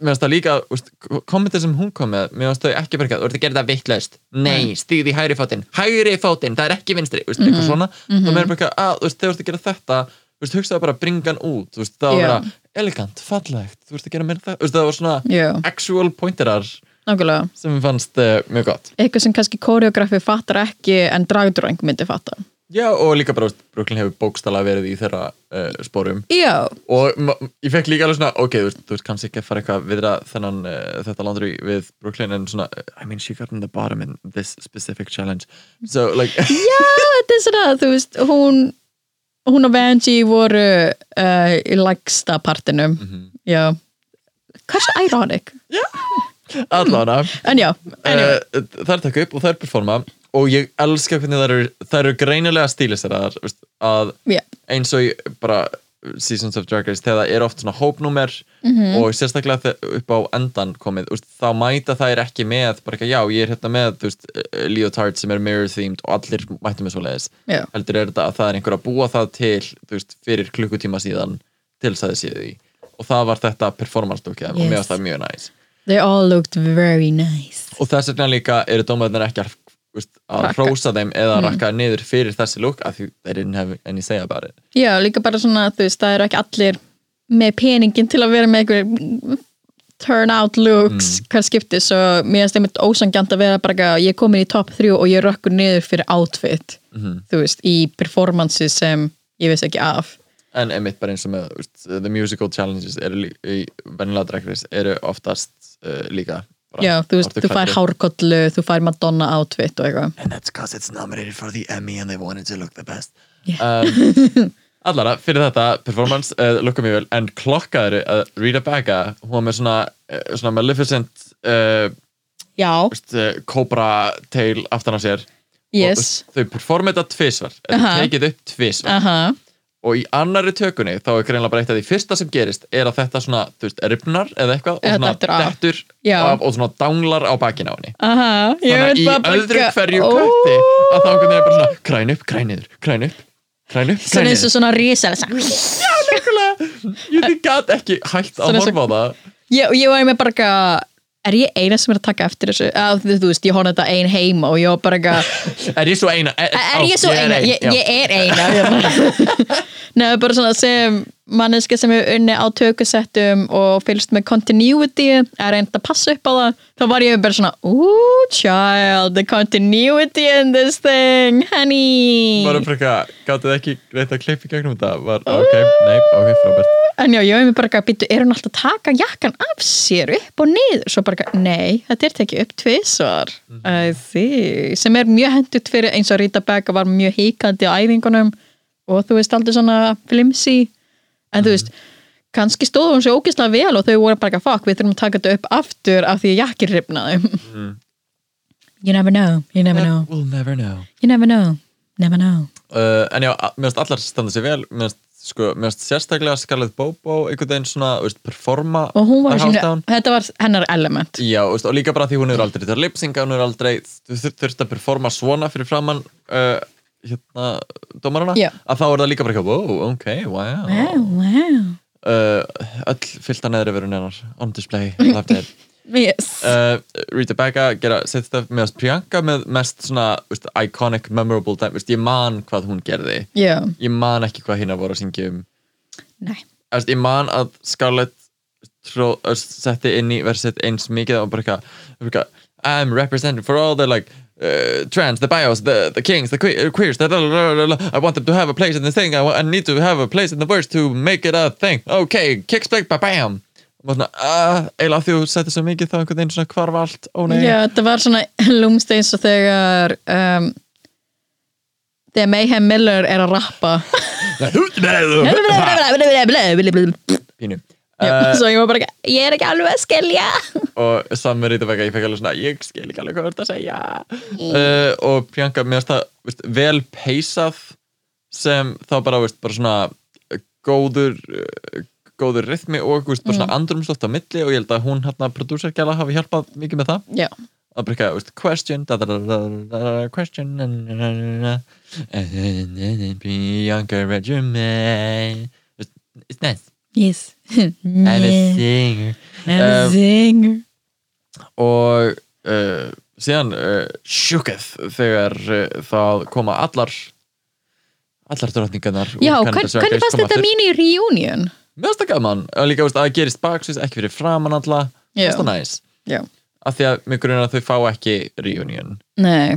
mér finnst það líka úst, kommentir sem hún kom með mér finnst þau ekki verið að þú ert að gera það vitlaust nei, stíð í hægri fótinn, hægri fótinn það er ekki vinstri, úst, "Ah,
Mhm,
eitthvað svona mm -hmm. og mér er bara ekki að, þú veist, þegar þú ert að gera þetta þú veist, hugsaðu bara að bringa hann út þú veist, það var
Já.
að vera elegant, fallegt, þú veist að gera meira það Þú veist, það var svona
Já,
actual pointerar
nákvæmlega
sem mér fannst uh, mjög gott
eitthvað sem kannski koreografi fattar ekki en dragdröng myndi fatta
Já, og líka bara, þú veist, Brooklyn hefur bókstala verið í þeirra uh, spórum
Já,
og ma- ég fekk líka alveg svona ok, þú veist, þú veist kannski ekki að fara eitthvað að viðra þennan uh, þetta laundry við Brooklyn en svona, eh, I mean she got in the bottom in this specific challenge so like,
þetta er svona, þú veist, hún hún og Benji voru uh, í lægsta partinum já, hversu ironic
allána
en já, anyway,
uh, þær taka upp og þær performa og ég elska hvernig þær eru þær eru greinilega stíliseraðar þú veist, að
já,
eins og ég bara Seasons of Drag Race, þegar það er oft svona hópnúmer
Mhm.
og sérstaklega þegar upp á endan komið, úst, þá mæta það er ekki með bara ekki, já, ég er hérna með þú veist, eh, leotard sem er mirror themed og allir mættu með svo leiðis
Já.
heldur er þetta að það er einhver að búa það til þú veist, fyrir klukkutíma síðan til þess að það séu því og það var þetta performance look yes. og
Yes.
mér varst það mjög næs
they all looked very nice
og þess vegna líka eru dómaðurnar ekki að, úst, að
Rakka. Mhm.
hrósa þeim eða rakka niður fyrir þessi look af því they didn't have any say about it
já, líka bara svona, þú veist, það eru ekki allir með peningin til að vera með einhver turn out looks
Mm.
hver skipti, svo mér er einmitt ósangjant að vera bara ekki að ég er komin í top 3 og ég rökkur niður fyrir outfit
Mhm.
þú veist, í performances sem ég veist ekki af
en einmitt bara eins og með úst, the musical challenges eru lí- í venjulega drekkuris eru oftast uh, líka bara
Já, þú veist,
ortu
þú fær
klæddir.
hárkollu, þú fær Madonna outfit og eitthvað.
and that's cause it's nominated for the Emmy and they wanted to look the best
Yeah.
um, allara, fyrir þetta performance, uh, lukka mjög vel en klokkaður að Rita Baga hún var með svona, uh, svona Maleficent uh,
Já,
úst, uh, Cobra tail aftan á sér og
yes,
úst, þau performa þetta tvisvar þau
Aha.
tekið upp tvisvar
aha,
og í annari tökunni þá er greinlega bara eitt af því fyrsta sem gerist er að þetta svona, þú veist, ripnar eða eitthvað og
Eða
svona
dettur af.
dettur
Já.
af og svona danglar á bakinu á henni
aha. Ég
þannig að
veit
í
það bara
öðru
ekki-
hverju
Ó,
kötti að þá einhvern veginn er bara svona græn upp, græn niður, græn upp græn upp, græn
Svona eins og
niður
svona risa. svona-
Nákvæmlega. ég því gat ekki hægt
Svona
að
eins og-
horfa á það
Ég, og ég var með bara ekki að, er ég eina sem er að taka eftir þessu? Að, þú þú veist, ég horfði þetta ein heima og ég var bara ekki að,
er ég svo eina? er, á,
er ég svo
er
eina?
ein,
Ég,
já.
ég er eina. Ég bara- Nei, bara svona sem manneska sem hefur unni á tökusettum og fylgst með continuity er reynd að passa upp á það þá var ég bara svona, ooh child the continuity in this thing honey
bara frekka, gatið ekki reynt að klippa í gegnum þetta var, ok, nei, ok, frábært
en já, ég hef mér bara að býta, er hún alltaf að taka jakkan af sér upp og niður svo bara, eitthvað, nei, þetta er tekið upp tvisvar mm því, sem er mjög hendut fyrir eins og Rita Becca var mjög híkandi á æfingunum og þú veist, aldrei svona flimsi en þú veist, kannski stóð hún sér ógeðslega vel og þau voru bara eitthvað, fuck, við þurfum að taka þetta upp aftur af því að jakkin ripnaði you never know, you never know
we'll never know
you never know, never know
uh, en já, a- mér finnst allar standa sér vel mér finnst sko, mér finnst sérstaklega Scarlett Bobo einhvern veginn svona, þú veist, performa
og hún var,
þar
sínu,
hálfdán.
þetta var hennar element
já, þú veist, og líka bara því hún er aldrei það lipsinga, hún er aldrei þú þur- þurft að performa svona fyrir framann uh, hérna, dómarana
Já.
að þá er það líka bara ekki, wow, ok, wow
wow, wow
uh, öll fyllt að neðri verun hennar on display, loved it
Yes.
uh, Rita Becca gera set stuff meðast Priyanka með mest svona þú veist, iconic, memorable time, veist, ég man hvað hún gerði,
Já,
ég man ekki hvað hérna voru að syngja um
nei.
Erst, ég man að Scarlett tró, erst, setti inn í versið eins mikið og bara eitthvað- bara eitthvað I'm representing for all the like uh, trans, the bios, the, the kings, the que queers the, la, la, la, la, la. I want them to have a place in this thing I, wa- I need to have a place in the verse to make it a thing ok, kicks back, ba bam og svona, uh, eila því þú setti svo mikið þá einhvern veginn svona hvarf allt, ó nei
Já, þetta var svona lúmst eins og þegar um, þegar Mayhem Miller er að rappa
Eh. pínu
Já, Svo ég var bara ekki, ég er ekki alveg að skilja
og samverið þetta vega, ég fekk alveg svona ég skil ekki alveg hvað þú ert að segja uh, og Priyanka, mér finnst það veist, vel peysað sem þá bara, veist, bara svona uh, góður uh, góður rithmi og veist, bara svona mm. andrumsloft á milli og ég held að hún hérna prodúsergjala hafi hjálpað mikið með það
Já,
að bara eitthvað, veist, question da, da, da, da, da, da, question na, na, na, na, na. Priyanka resume Veist, it's nice,
yes
I'm a
Everything
singer og uh, síðan uh, sjúkað þegar uh, það koma allar allar drotningarnar úr
Já,
Canada's Drag
hvern-
Race
hvernig fannst
koma
þetta
aftur.
mín í reunion?
Mér finnst það gaman, og líka veist, að það gerist baksvís ekki fyrir framann alla, mér
Já.
finnst það næs
já,
af því að mig grunar að þau fá ekki reunion
nei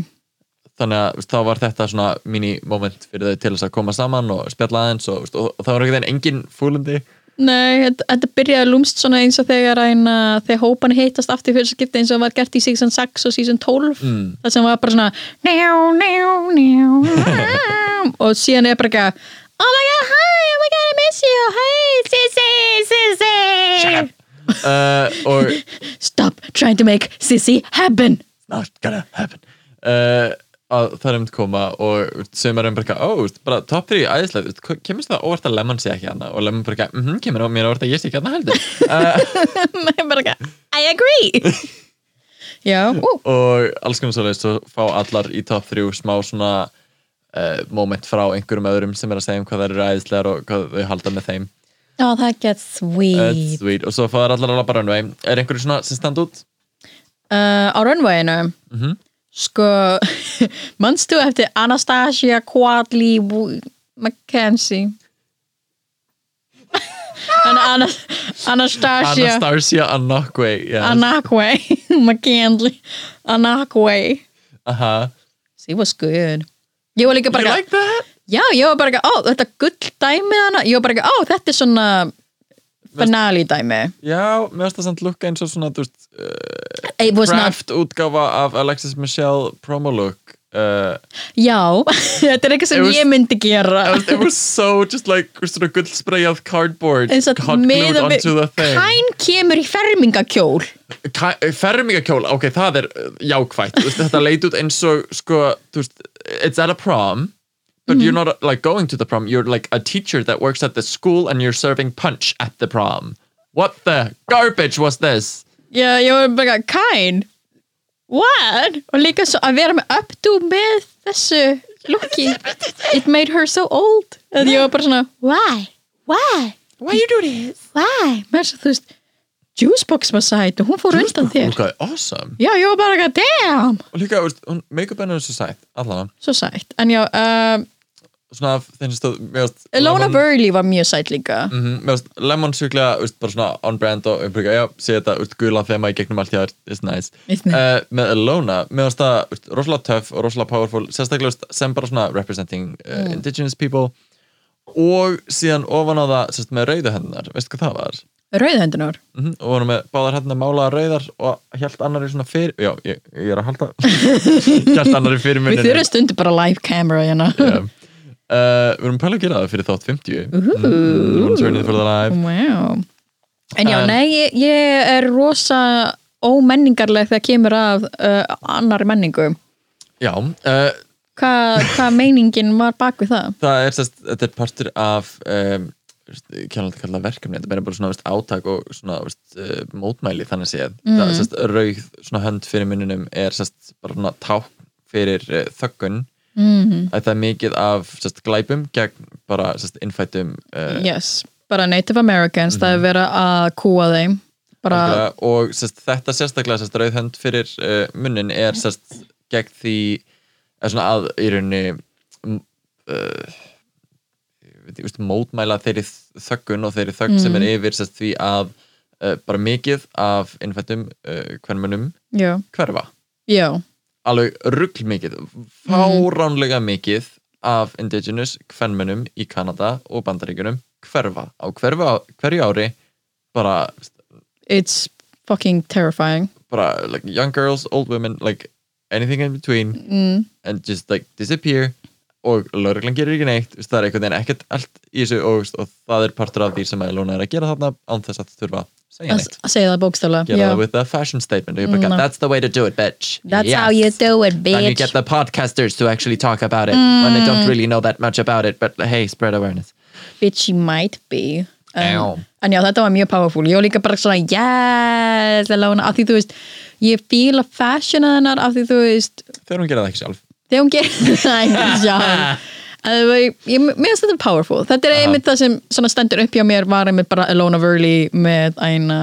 þannig að veist, þá var þetta svona mini moment fyrir þau til þess að koma saman og spjalla aðeins og, veist, og, og það var einhvern veginn engin fúlundi
Nei, þetta- þetta byrjaði lúmst svona eins og þegar, eina, þegar hópan heitast aftur fyrir skipti eins og var gert í season 6 og season 12 mm. það sem var bara svona njá, njá, njá, njá, og síðan er bara ekki að Oh my god, hi, oh my god, I miss you Hey, sissy, sissy
uh, og
Stop trying to make sissy happen
not gonna happen uh, að það er um til koma og sem er um bara, ó, veist, bara top 3 æðislega, veist, hvað- kemur það óvart að Lemon sé ekki hana og Lemon bara, mm -hmm, kemur á mér óvart að ég sé ekki hana heldur
Ég bara ekki, I agree Já, ú,
og alls konar svolítið svo fá allar í top 3 smá svona uh, moment frá einhverjum öðrum sem er að segja um hvað þær eru æðislegar og hvað þau halda með þeim
oh, that gets
That's
sweet
sweet. og svo fá þær allar að labba runway er einhverju svona sem standa út?
uh, á runwayinu
Mhm.
sko manstu eftir Anastasia Quadley Wu- McKenzie An Ana Anastasia
Anastasia Anokwe yes.
Anakwe McKenzie Anakwe
Aha.
she was good ég var líka
you
bara
like that?
já, ég var bara ekki, ó, þetta gull dæmið hana, ég var bara ekki, ó, þetta er svona finale dæmi
já, mér finnst það samt lukka eins og svona þú veist,
it was not,
craft útgáfa af Alexis Michelle promo look uh,
já, þetta er eitthvað sem
It was-
ég myndi gera
it was- it was so just like svona gullspreyjað cardboard
eins og
hot glued
miða
onto the thing eh,
kæn kemur í fermingakjól
fermingakjól, ok, það er uh, jákvætt, Þú veist, þetta leit út eins og sko, þú veist, it's at a prom but you're not like going to the prom you're like a teacher that works at the school and you're serving punch at the prom what the garbage was this
Já, ég var bara kæn What? Og líka svo að vera með uppdú með þessu looki It made her so old að ég var bara svona Why? Why?
why you do this?
Why? Mér svo þú veist Juicebox var sæt og hún fór undan þér
Lúkaði awesome
Já, ég var bara eitthvað, damn
og líka, þú veist, hún make-up hennar er svo sætt allavega,
Svo sætt, en já uh,
svona af þeim sem stóð mér varst
Lona
Lemon-
Burley var mjög sætt líka
Mhm, mér varst Lemon sjúklega, þú veist, bara svona on brand og umbrygga, já, sé þetta, þú veist, gula þema í gegnum allt hjá þér, it's nice
It's nice.
Eh, með Alona, mér varst það þú veist, rosalega töff og rosalega powerful, sérstaklega þú veist, sem bara svona representing
Mm.
uh, indigenous people og síðan ofan á það, sérst, með rauðu hendunar veistu hvað það var?
Rauðhendunar
Mm og voru með báðar hendunar málaða rauðar og held annari svona fyrir já, ég, ég er að halda held annari fyrir
Við
munninum
þurfum stundu bara live camera hérna
Já. Eh, við erum að pæla að gera það fyrir þátt Mm, 50
Ooh.
hún törnið fyrir það live
Wow. En já,
En-
nei, ég, ég er rosa ómenningarleg þegar kemur að uh, annari menningu.
já, uh,
Hva, hvað meiningin var bak við það?
það er sérst, þetta er partur af um, kjánlega að kalla það verkefni þetta meira bara svona veist, átak og svona veist, uh, mótmæli þannig séð það er sérst rauð svona hönd fyrir mununum er sérst bara svona ták fyrir uh, þöggun
Mm,
að það er mikið af sérst glæpum gegn bara sérst innfættum uh,
yes, bara Native Americans, það er verið að kúa þeim. Bara,
Mhm. Algjörlega, og sest, þetta sérstaklega sest, rauðhönd fyrir uh, munnin er sest, gegn því er svona að í rauninni m- uh, ég veit, ég veist, mótmæla þeirri þöggun og þeirri þögg sem er yfir sest, því að uh, bara mikið af innfættum uh, hvernmunum
já,
hverfa
já,
alveg ruggl mikið fáránlega mikið af indigenous hvernmunum í Kanada og Bandaríkunum hverfa á hverfa, hverju ári bara
it's fucking terrifying.
bara like young girls, old women, like anything in between
Mm,
and just like disappear og lögreglan gerir ekki neitt, þú veist, það er einhvern veginn ekkert allt í þessu og, og það er partur af því sem Elona er að gera þarna án þess að þurfa að segja
að
neitt
að segja það bókstaflega.
gera það
já.
with a fashion statement og ég bara,
Mm.
that's the way to do it bitch
That's how you do it, Mm. bitch.
and you get the podcasters to actually talk about it when they don't really know that much about it but hey, spread awareness
bitch you might be Um,
Ow.
en, en já, þetta var mjög powerful ég var líka bara svona, yes Alona, af því þú veist, ég fíla fashiona hennar, af því þú veist
þegar hún gera það ekki sjálf
þegar hún gerir það ekki sjálf En það var- ég- mér finnst þetta powerful þetta er einmitt það sem svona stendur upp hjá mér var einmitt bara Alona Verley með eina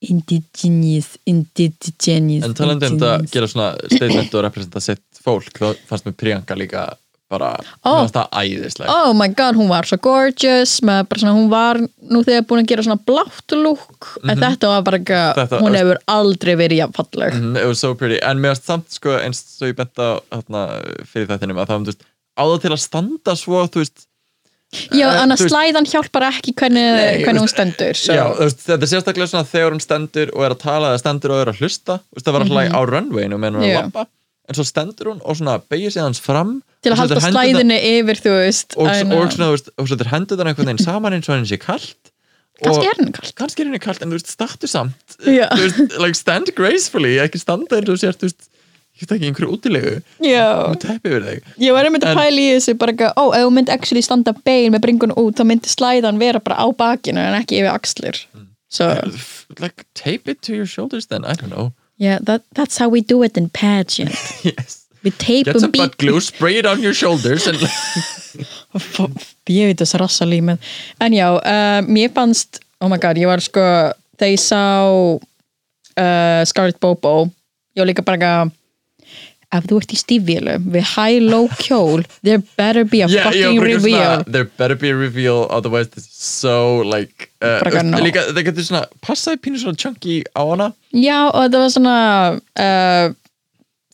indigenous indigenous
En talandi um þetta að
indigenous.
gera svona statement og representa sitt fólk þá fannst mér Priyanka líka bara,
Ó.
mér fannst það æðislega
oh my god, hún var svo gorgeous með bara svona, hún var nú þegar búin að gera svona blátt lúk en þetta var bara
Mhm. Þetta-
ekki, hún hefur aldrei verið jafn falleg
Mhm, it was so pretty, en mér varst samt sko, eins og ég bent á hérna, fyrir þættinum að það var, þú veist, á það til að standa svo, þú veist,
já,
Eh,
annars
þú veist-
slæðan hjálpar ekki hvernig,
Nei,
hvernig
þú
hún
veist,
stendur so.
já, þú veist, þetta er sérstaklega svona þegar hún stendur og er að tala eða stendur og er að hlusta, þú veist, það var alltaf mm á runwayinu meðan hún er
Mhm. Já.
að labba en svo stendur hún og svona beigir sig hans fram
til
og
að halda
setur hendurnar-
slæðinu yfir þú veist
og,
en,
og, svona, þú veist, og setur hendutan einhvern veginn saman eins og henni sé kalt
kannski
og
er henni kalt
kannski er henni kalt en þú veist, startu samt
Já.
Þú veist, like, stand gracefully, ekki standa eins og sér þú veist, ég veit ekki einhverju útilegu
já,
og teppi yfir þig
ég var einmitt að
En-
pæla í þessu bara ekki, ó, ef hún myndi actually standa bein með bringun út, þá myndi slæðan vera bara á bakinu en ekki yfir axlir
Mm.
so,
F- like, tape it to your shoulders then, I don't know
yeah, that, that's how we do it in pageant
yes. get
við teipum
some butt glue, spray it on your shoulders and
F- ég veit þess rassalímið en já, um, ég fannst oh my god, ég var sko þegar ég sá uh, Scarlett Bobo ég var líka bara eitthvað, ef þú ert í stífvílu við high-low kjól there better be a
yeah,
fucking
bara eitthvað
reveal
there better be a reveal, otherwise this is so like, uh,
Bara eitthvað, no.
líka, það getur svona passaði pínu svona chunky á hana
já, og þetta var svona uh,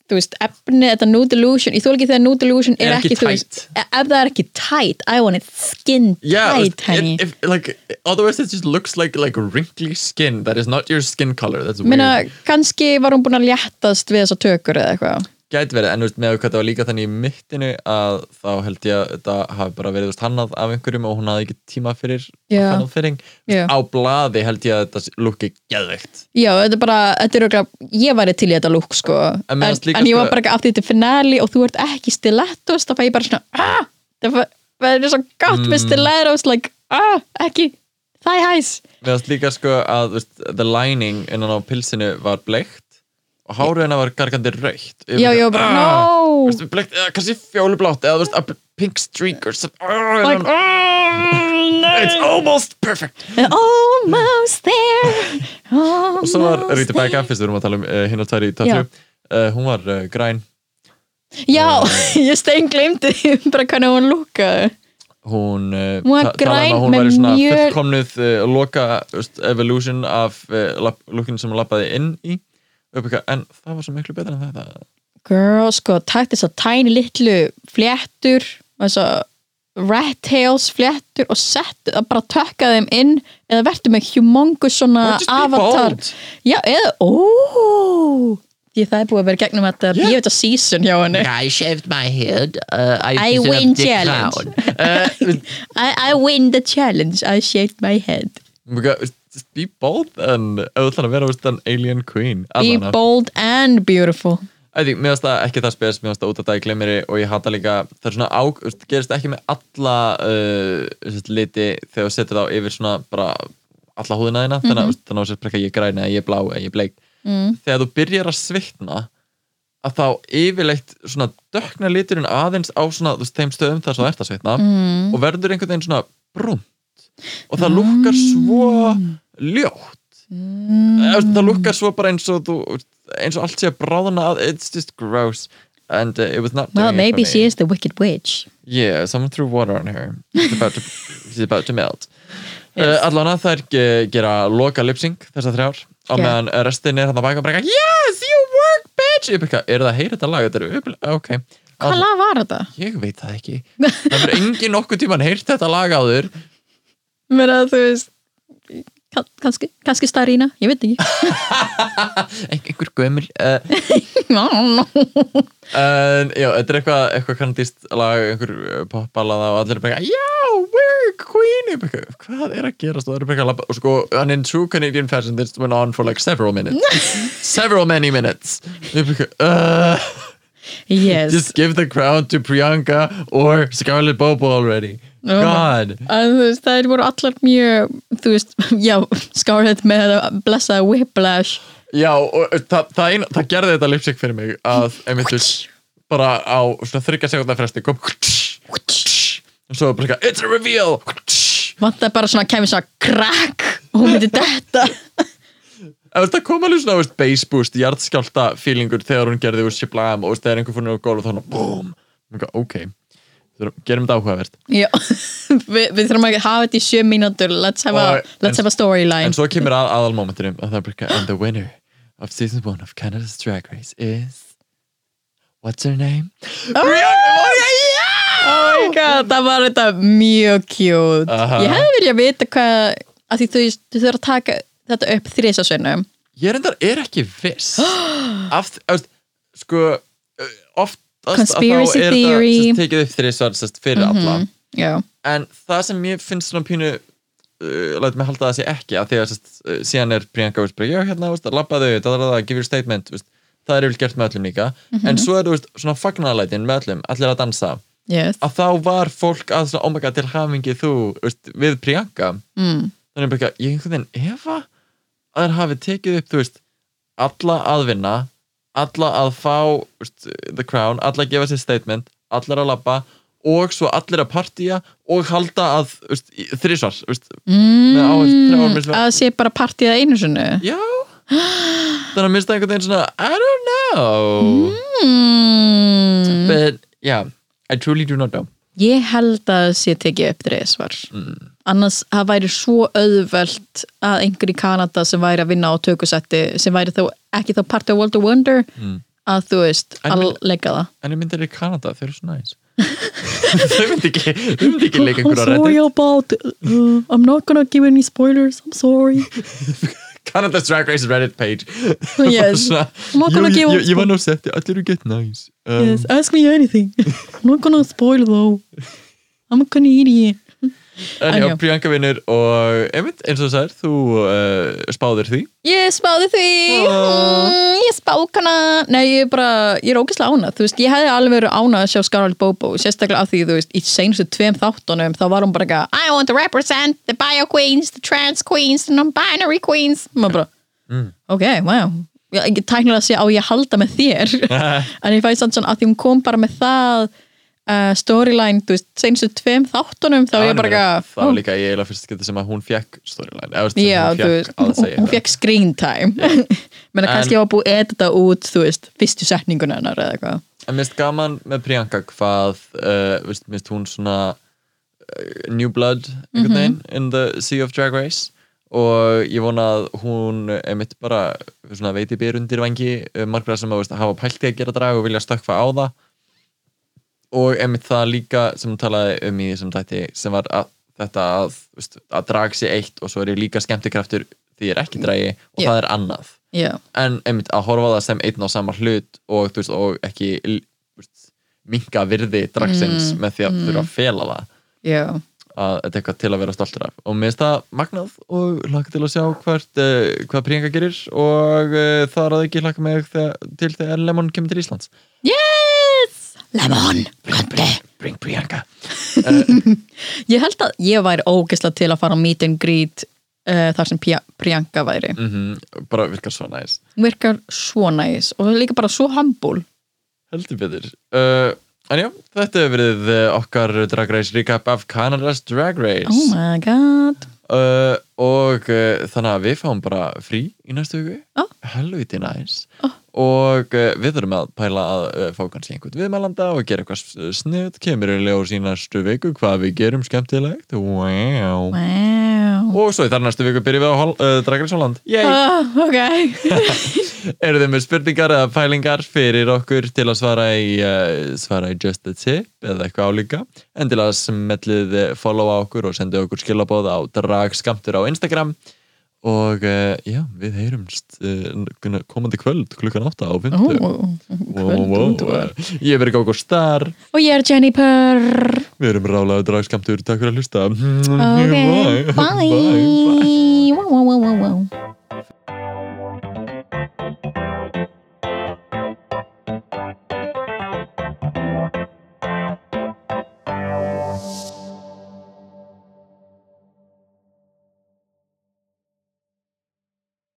þú veist, efni, þetta nude illusion ég þú ekki þegar nude illusion er,
Er ekki
ekki, þú veist,
tight.
e- ef það er ekki tight I want it skin
Yeah,
tight
it-
honey
if, like otherwise it just looks like like wrinkly skin. That is not your skin color. That's weird.
Meina, kannski var hún búin að léttast við þessa tökur eða eitthvað
Gæti verið, en þú veist, með hvað það var líka þannig í mittinu að þá held ég að þetta hafi bara verið þú veist, hannað af einhverjum og hún hafði ekki tíma fyrir
Já.
hannað fyrir.
Já.
Á blaði held ég að þetta lukki geðveikt.
Já, þetta er bara, þetta er örugglega, ég væri til í þetta lúk sko,
En
en,
mér
en,
fannst líka,
ég
sko-
var bara ekki af því þetta er finale og þú ert ekki stilettos, þá fæ ég bara svona, ah, það fæ- verður svo gott
Mm.
með stilettos, like, ah, ekki, það er hæs.
Við þátt líka sko að þú veist, the lining innan á pilsinu var bleikt og hárið hennar var gargandi raukt. Ég
Já,
bara,
já, bara,
"Ah,
no.
Þú veist, bleikt, eða kannski fjólublátt eða þú veist, a pink streak or something. Ah,
Like, "Ah,
innan- It's almost perfect.
Almost there,
og
almost
svo var Rita
there.
Becca, fyrst við erum að tala um uh, hinn að tæri í tattu, uh, hún var uh, græn
Já, ég stein glemdi því um bara hvernig hún lúkaði.
hún, uh,
Hún var
ta- talaði um
græn
að hún
með
væri svona
mjöl-
fullkomnuð uh, loka veist, evolution af uh, lukkin sem hún lappaði inn í upp eitthvað, en það var svo miklu betra en þetta
Girl, sko, takt þess að tæni litlu fléttur þess að rat tails fléttur og sett að bara tökka þeim inn eða verður með humongous svona
Or just be
avatar
bold.
Já, eða, ó Því það er búið að vera gegnum þetta yeah. Beauty season hjá henni
I shaved my head. Uh, I,
I
deserve
win
the
challenge.
crown.
I, I win the challenge, I shaved my head
Eitthvað, veist, just be bold en auðvitað að vera veist, an alien queen
Be
Allavega.
bold and beautiful
Æ, því, mér finnst það ekki það spes, mér finnst það út af það í glemiri og ég hata líka, það er svona á, þú veist, gerist ekki með alla uh, þú veist, liti þegar þú setur þá yfir svona bara alla húðina þína
Mhm.
þannig að, þú veist, þannig að þú sér bara ekki að ég er græn eða ég er blá eða ég er bleik mm. þegar þú byrjar að svitna að þá yfirleitt svona dökna liturinn aðeins á svona þú veist, þeim stöðum þar sem þú ert að svitna
Hmm,
mm. og verður einhvern veginn svona brúnt og það lukkar svo ljótt mm. það lukkar svo bara eins og þú eins og allt sé að bráðna að it's just gross and uh, it was not
Well,
doing it
maybe
for
she
me.
is the wicked witch
yeah, someone threw water on her she's about to, she's about to melt yes. uh, allan að þær ge- gera loka lipsing þessar þrjár á
Yeah.
meðan restin er hann að baka og bara eitthvað, yes, you work, bitch Ég bara eitthvað, er það að heyra þetta lag, þetta er upplega ok,
Hvað
Allan-
lag var þetta?
ég veit það ekki það verður engin nokkuð tíman heyrt þetta lag áður
Mér að þú veist kann- Kannski, kannski starína, ég veit ekki
Ein- einhver gömul uh,
no, no.
En já, þetta er eitthvað eitthvað kanadíst lag, einhver uh, popballada og allir er bara, eitthvað, já, we're queen Ég bara eitthvað, hvað er að gerast og það er bara eitthvað að labba- og sko, and in true Canadian fashion this went on for like several minutes several many minutes Ég bara eitthvað, uh,
Yes
just give the crown to Priyanka or Scarlett Bobo already
Oh.
God
að þú veist, þær voru allar mjög þú veist, já, Scarlett með blessaða whiplash
Já, og það, það, eina, það gerði þetta lipsik fyrir mig að, einmitt, þú veist, bara á svona þryggja sekundar fresti kom og svo bara eitthvað, it's a reveal
vantar bara svona, kemur svona krakk og hún myndi detta
Þú veist, það kom alveg svona, þú veist, base boost, jarðskjálta feelingur þegar hún gerði úr Shiblam og þú veist, þegar einhver fór niður á gólf og þá hann, boom, Ég eitthvað, ok Þurfum- gerum þetta áhugavert
Já, Vi, við þurfum að hafa þetta í sjö mínútur let's have a,
Og-
let's
en-
have a storyline
en svo kemur að aðalmomentinu að það er bara, and the winner of season 1 of Canada's Drag Race is what's her name?
Ah! oh my god, það var þetta mjög cute
Aha.
ég hefði verið að vita hvað að því þú, þú þurfar að taka þetta upp þrísasunum
ég reyndar er ekki viss af, af, sko uh, oftast að
Conspiracy
þá er það
theory. Mhm.
sest, tekið upp þrísvar sest, fyrir
já,
alla en það sem ég finnst svona pínu uh, læt mig halda að það sé ekki að því að sest, uh, síðan er Priyanka veist, bara, já hérna, veist, labbaðu, það er það, give your statement veist, það er yfir gert með öllum líka en svo eru veist, svona fagnalætin með öllum allir að dansa
yes
að þá var fólk að svona, oh my god, til hamingi þú veist, við Priyanka
mm.
þannig bara, eitthvað, ég einhvern veginn efa að þær hafi tekið upp, þú veist alla að vinna, alla að fá þú veist, the crown, alla að gefa sér statement allar að labba og svo allir að partía og halda að þú veist, í- þrisvar, þú veist, með áherslu þrjár
mm.
mismunandi-
að sé bara partíða einu sinu
já þannig að mista einhvern veginn svona I don't know
mm.
but yeah, I truly do not know
ég held að sé tekið upp þrísvar annars það væri svo auðvelt að einhver í Kanada sem væri að vinna á tökusetti sem væri þá ekki þá part of World of Wonder að þú veist,
Mm. En
að
minn-
leika það
en ég myndi að í Kanada, þau eru svo næs þau myndi ekki þau myndi ekki leika einhverja
I'm sorry
reddit
about uh, I'm not gonna give any spoilers I'm sorry
Canada's Drag Race Reddit page
yes,
Svona,
I'm not gonna
jú,
give
jú,
up
Ég var nú sett, allir eru gett næs um,
sko. yes ask me anything I'm not gonna spoil though I'm a Canadian
En já,
en já.
Priyanka vinnur og einmitt, eins og þessar, þú uh, spáðir því
ég spáði því
Aw.
mm, ég spákana nei ég er bara, ég er ógæslega ánað þú veist, ég hefði alveg verið ánað að sjá Scarlett Bobo sérstaklega af því, þú veist, í seinustu tveim þáttunum þá var hún bara eitthvað, I want to represent the bio queens, the trans queens the non-binary queens, maður bara
Mm.
ok, wow ég, ég tæknilega sé á ég að halda með þér en ég fæði samt svona að því hún kom bara með það uh, storyline, þú veist, seinustu tveim þáttunum þá
Það
ég bara
var
eitthvað, "Oh
það var
ó,
líka ég eiginlega fyrst skipti sem að hún fekk storyline eða sem
Já,
hún
þú
fekk
veist,
að
hún,
segja
hún fekk screen time menn að kannski ég var búið að edita út þú veist, fyrstu setninguna hennar eða eitthvað
En mér finnst gaman með Priyanka hvað uh, veist, mér finnst hún svona uh, new blood einhvern veginn in the sea of drag race og ég vona að hún eh, einmitt bara svona veiti bér undir vangi uh, margra sem að veist, hafa pælti að gera drag og vilja stökkfa á það og einmitt það líka sem hún talaði um í þessum tætti sem var að þetta að, veist, að drag sé eitt og svo er ég líka skemmtikraftur því ég er ekki dragi og
Já.
það er annað
já,
en einmitt að horfa á það sem einn og sama hlut og, þú veist, og ekki l- þú veist, minka virði dragsins
Mm,
með því að þurfa að fela það
já,
að þetta er eitthvað til að vera stoltur af og mér finnst það magnað og hlaka til að sjá hvert, uh, hvað Priyanka gerir og uh, það er að ekki hlaka mig þegar, til þegar Lemon kemur til Íslands
yes Lemon, kondi
Bring Priyanka
ég held að ég væri ógeðslega til að fara á meet and greet uh, þar sem Pia- Priyanka væri
mm bara virkar svo næs
hún virkar svo næs og líka bara svo humble
heldur betur uh, en já, þetta hefur verið uh, okkar Drag Race recap af Canada's Drag Race
oh my god
uh, og uh, þannig að við fáum bara frí í næstu hugu
Ó.
helviti næs og uh, við þurfum að pæla að uh, fá kannski einhvern viðmælanda og gera eitthvað sniðt kemur í ljós í næstu viku hvað við gerum skemmtilegt wow.
wow
og svo í þar næstu viku byrjum við á hol- uh, Dragris Holland Yay!
ah, ok,
eru þið með spurningar eða pælingar fyrir okkur til að svara í, uh, svara í Just a Tip eða eitthvað álíka en til að smellið eh, follow á okkur og sendu okkur skilabóð á dragskamtur á Instagram og uh, já, við heyrumst uh, komandi kvöld klukkan 8 á 5
Ó,
wow,
kvöld
wow. ég er verið góð okkur star
og ég er Jenny Purr
við erum rálaðu dragskamtur, takk fyrir að hlusta
ok,
bye, bye. bye.
bye.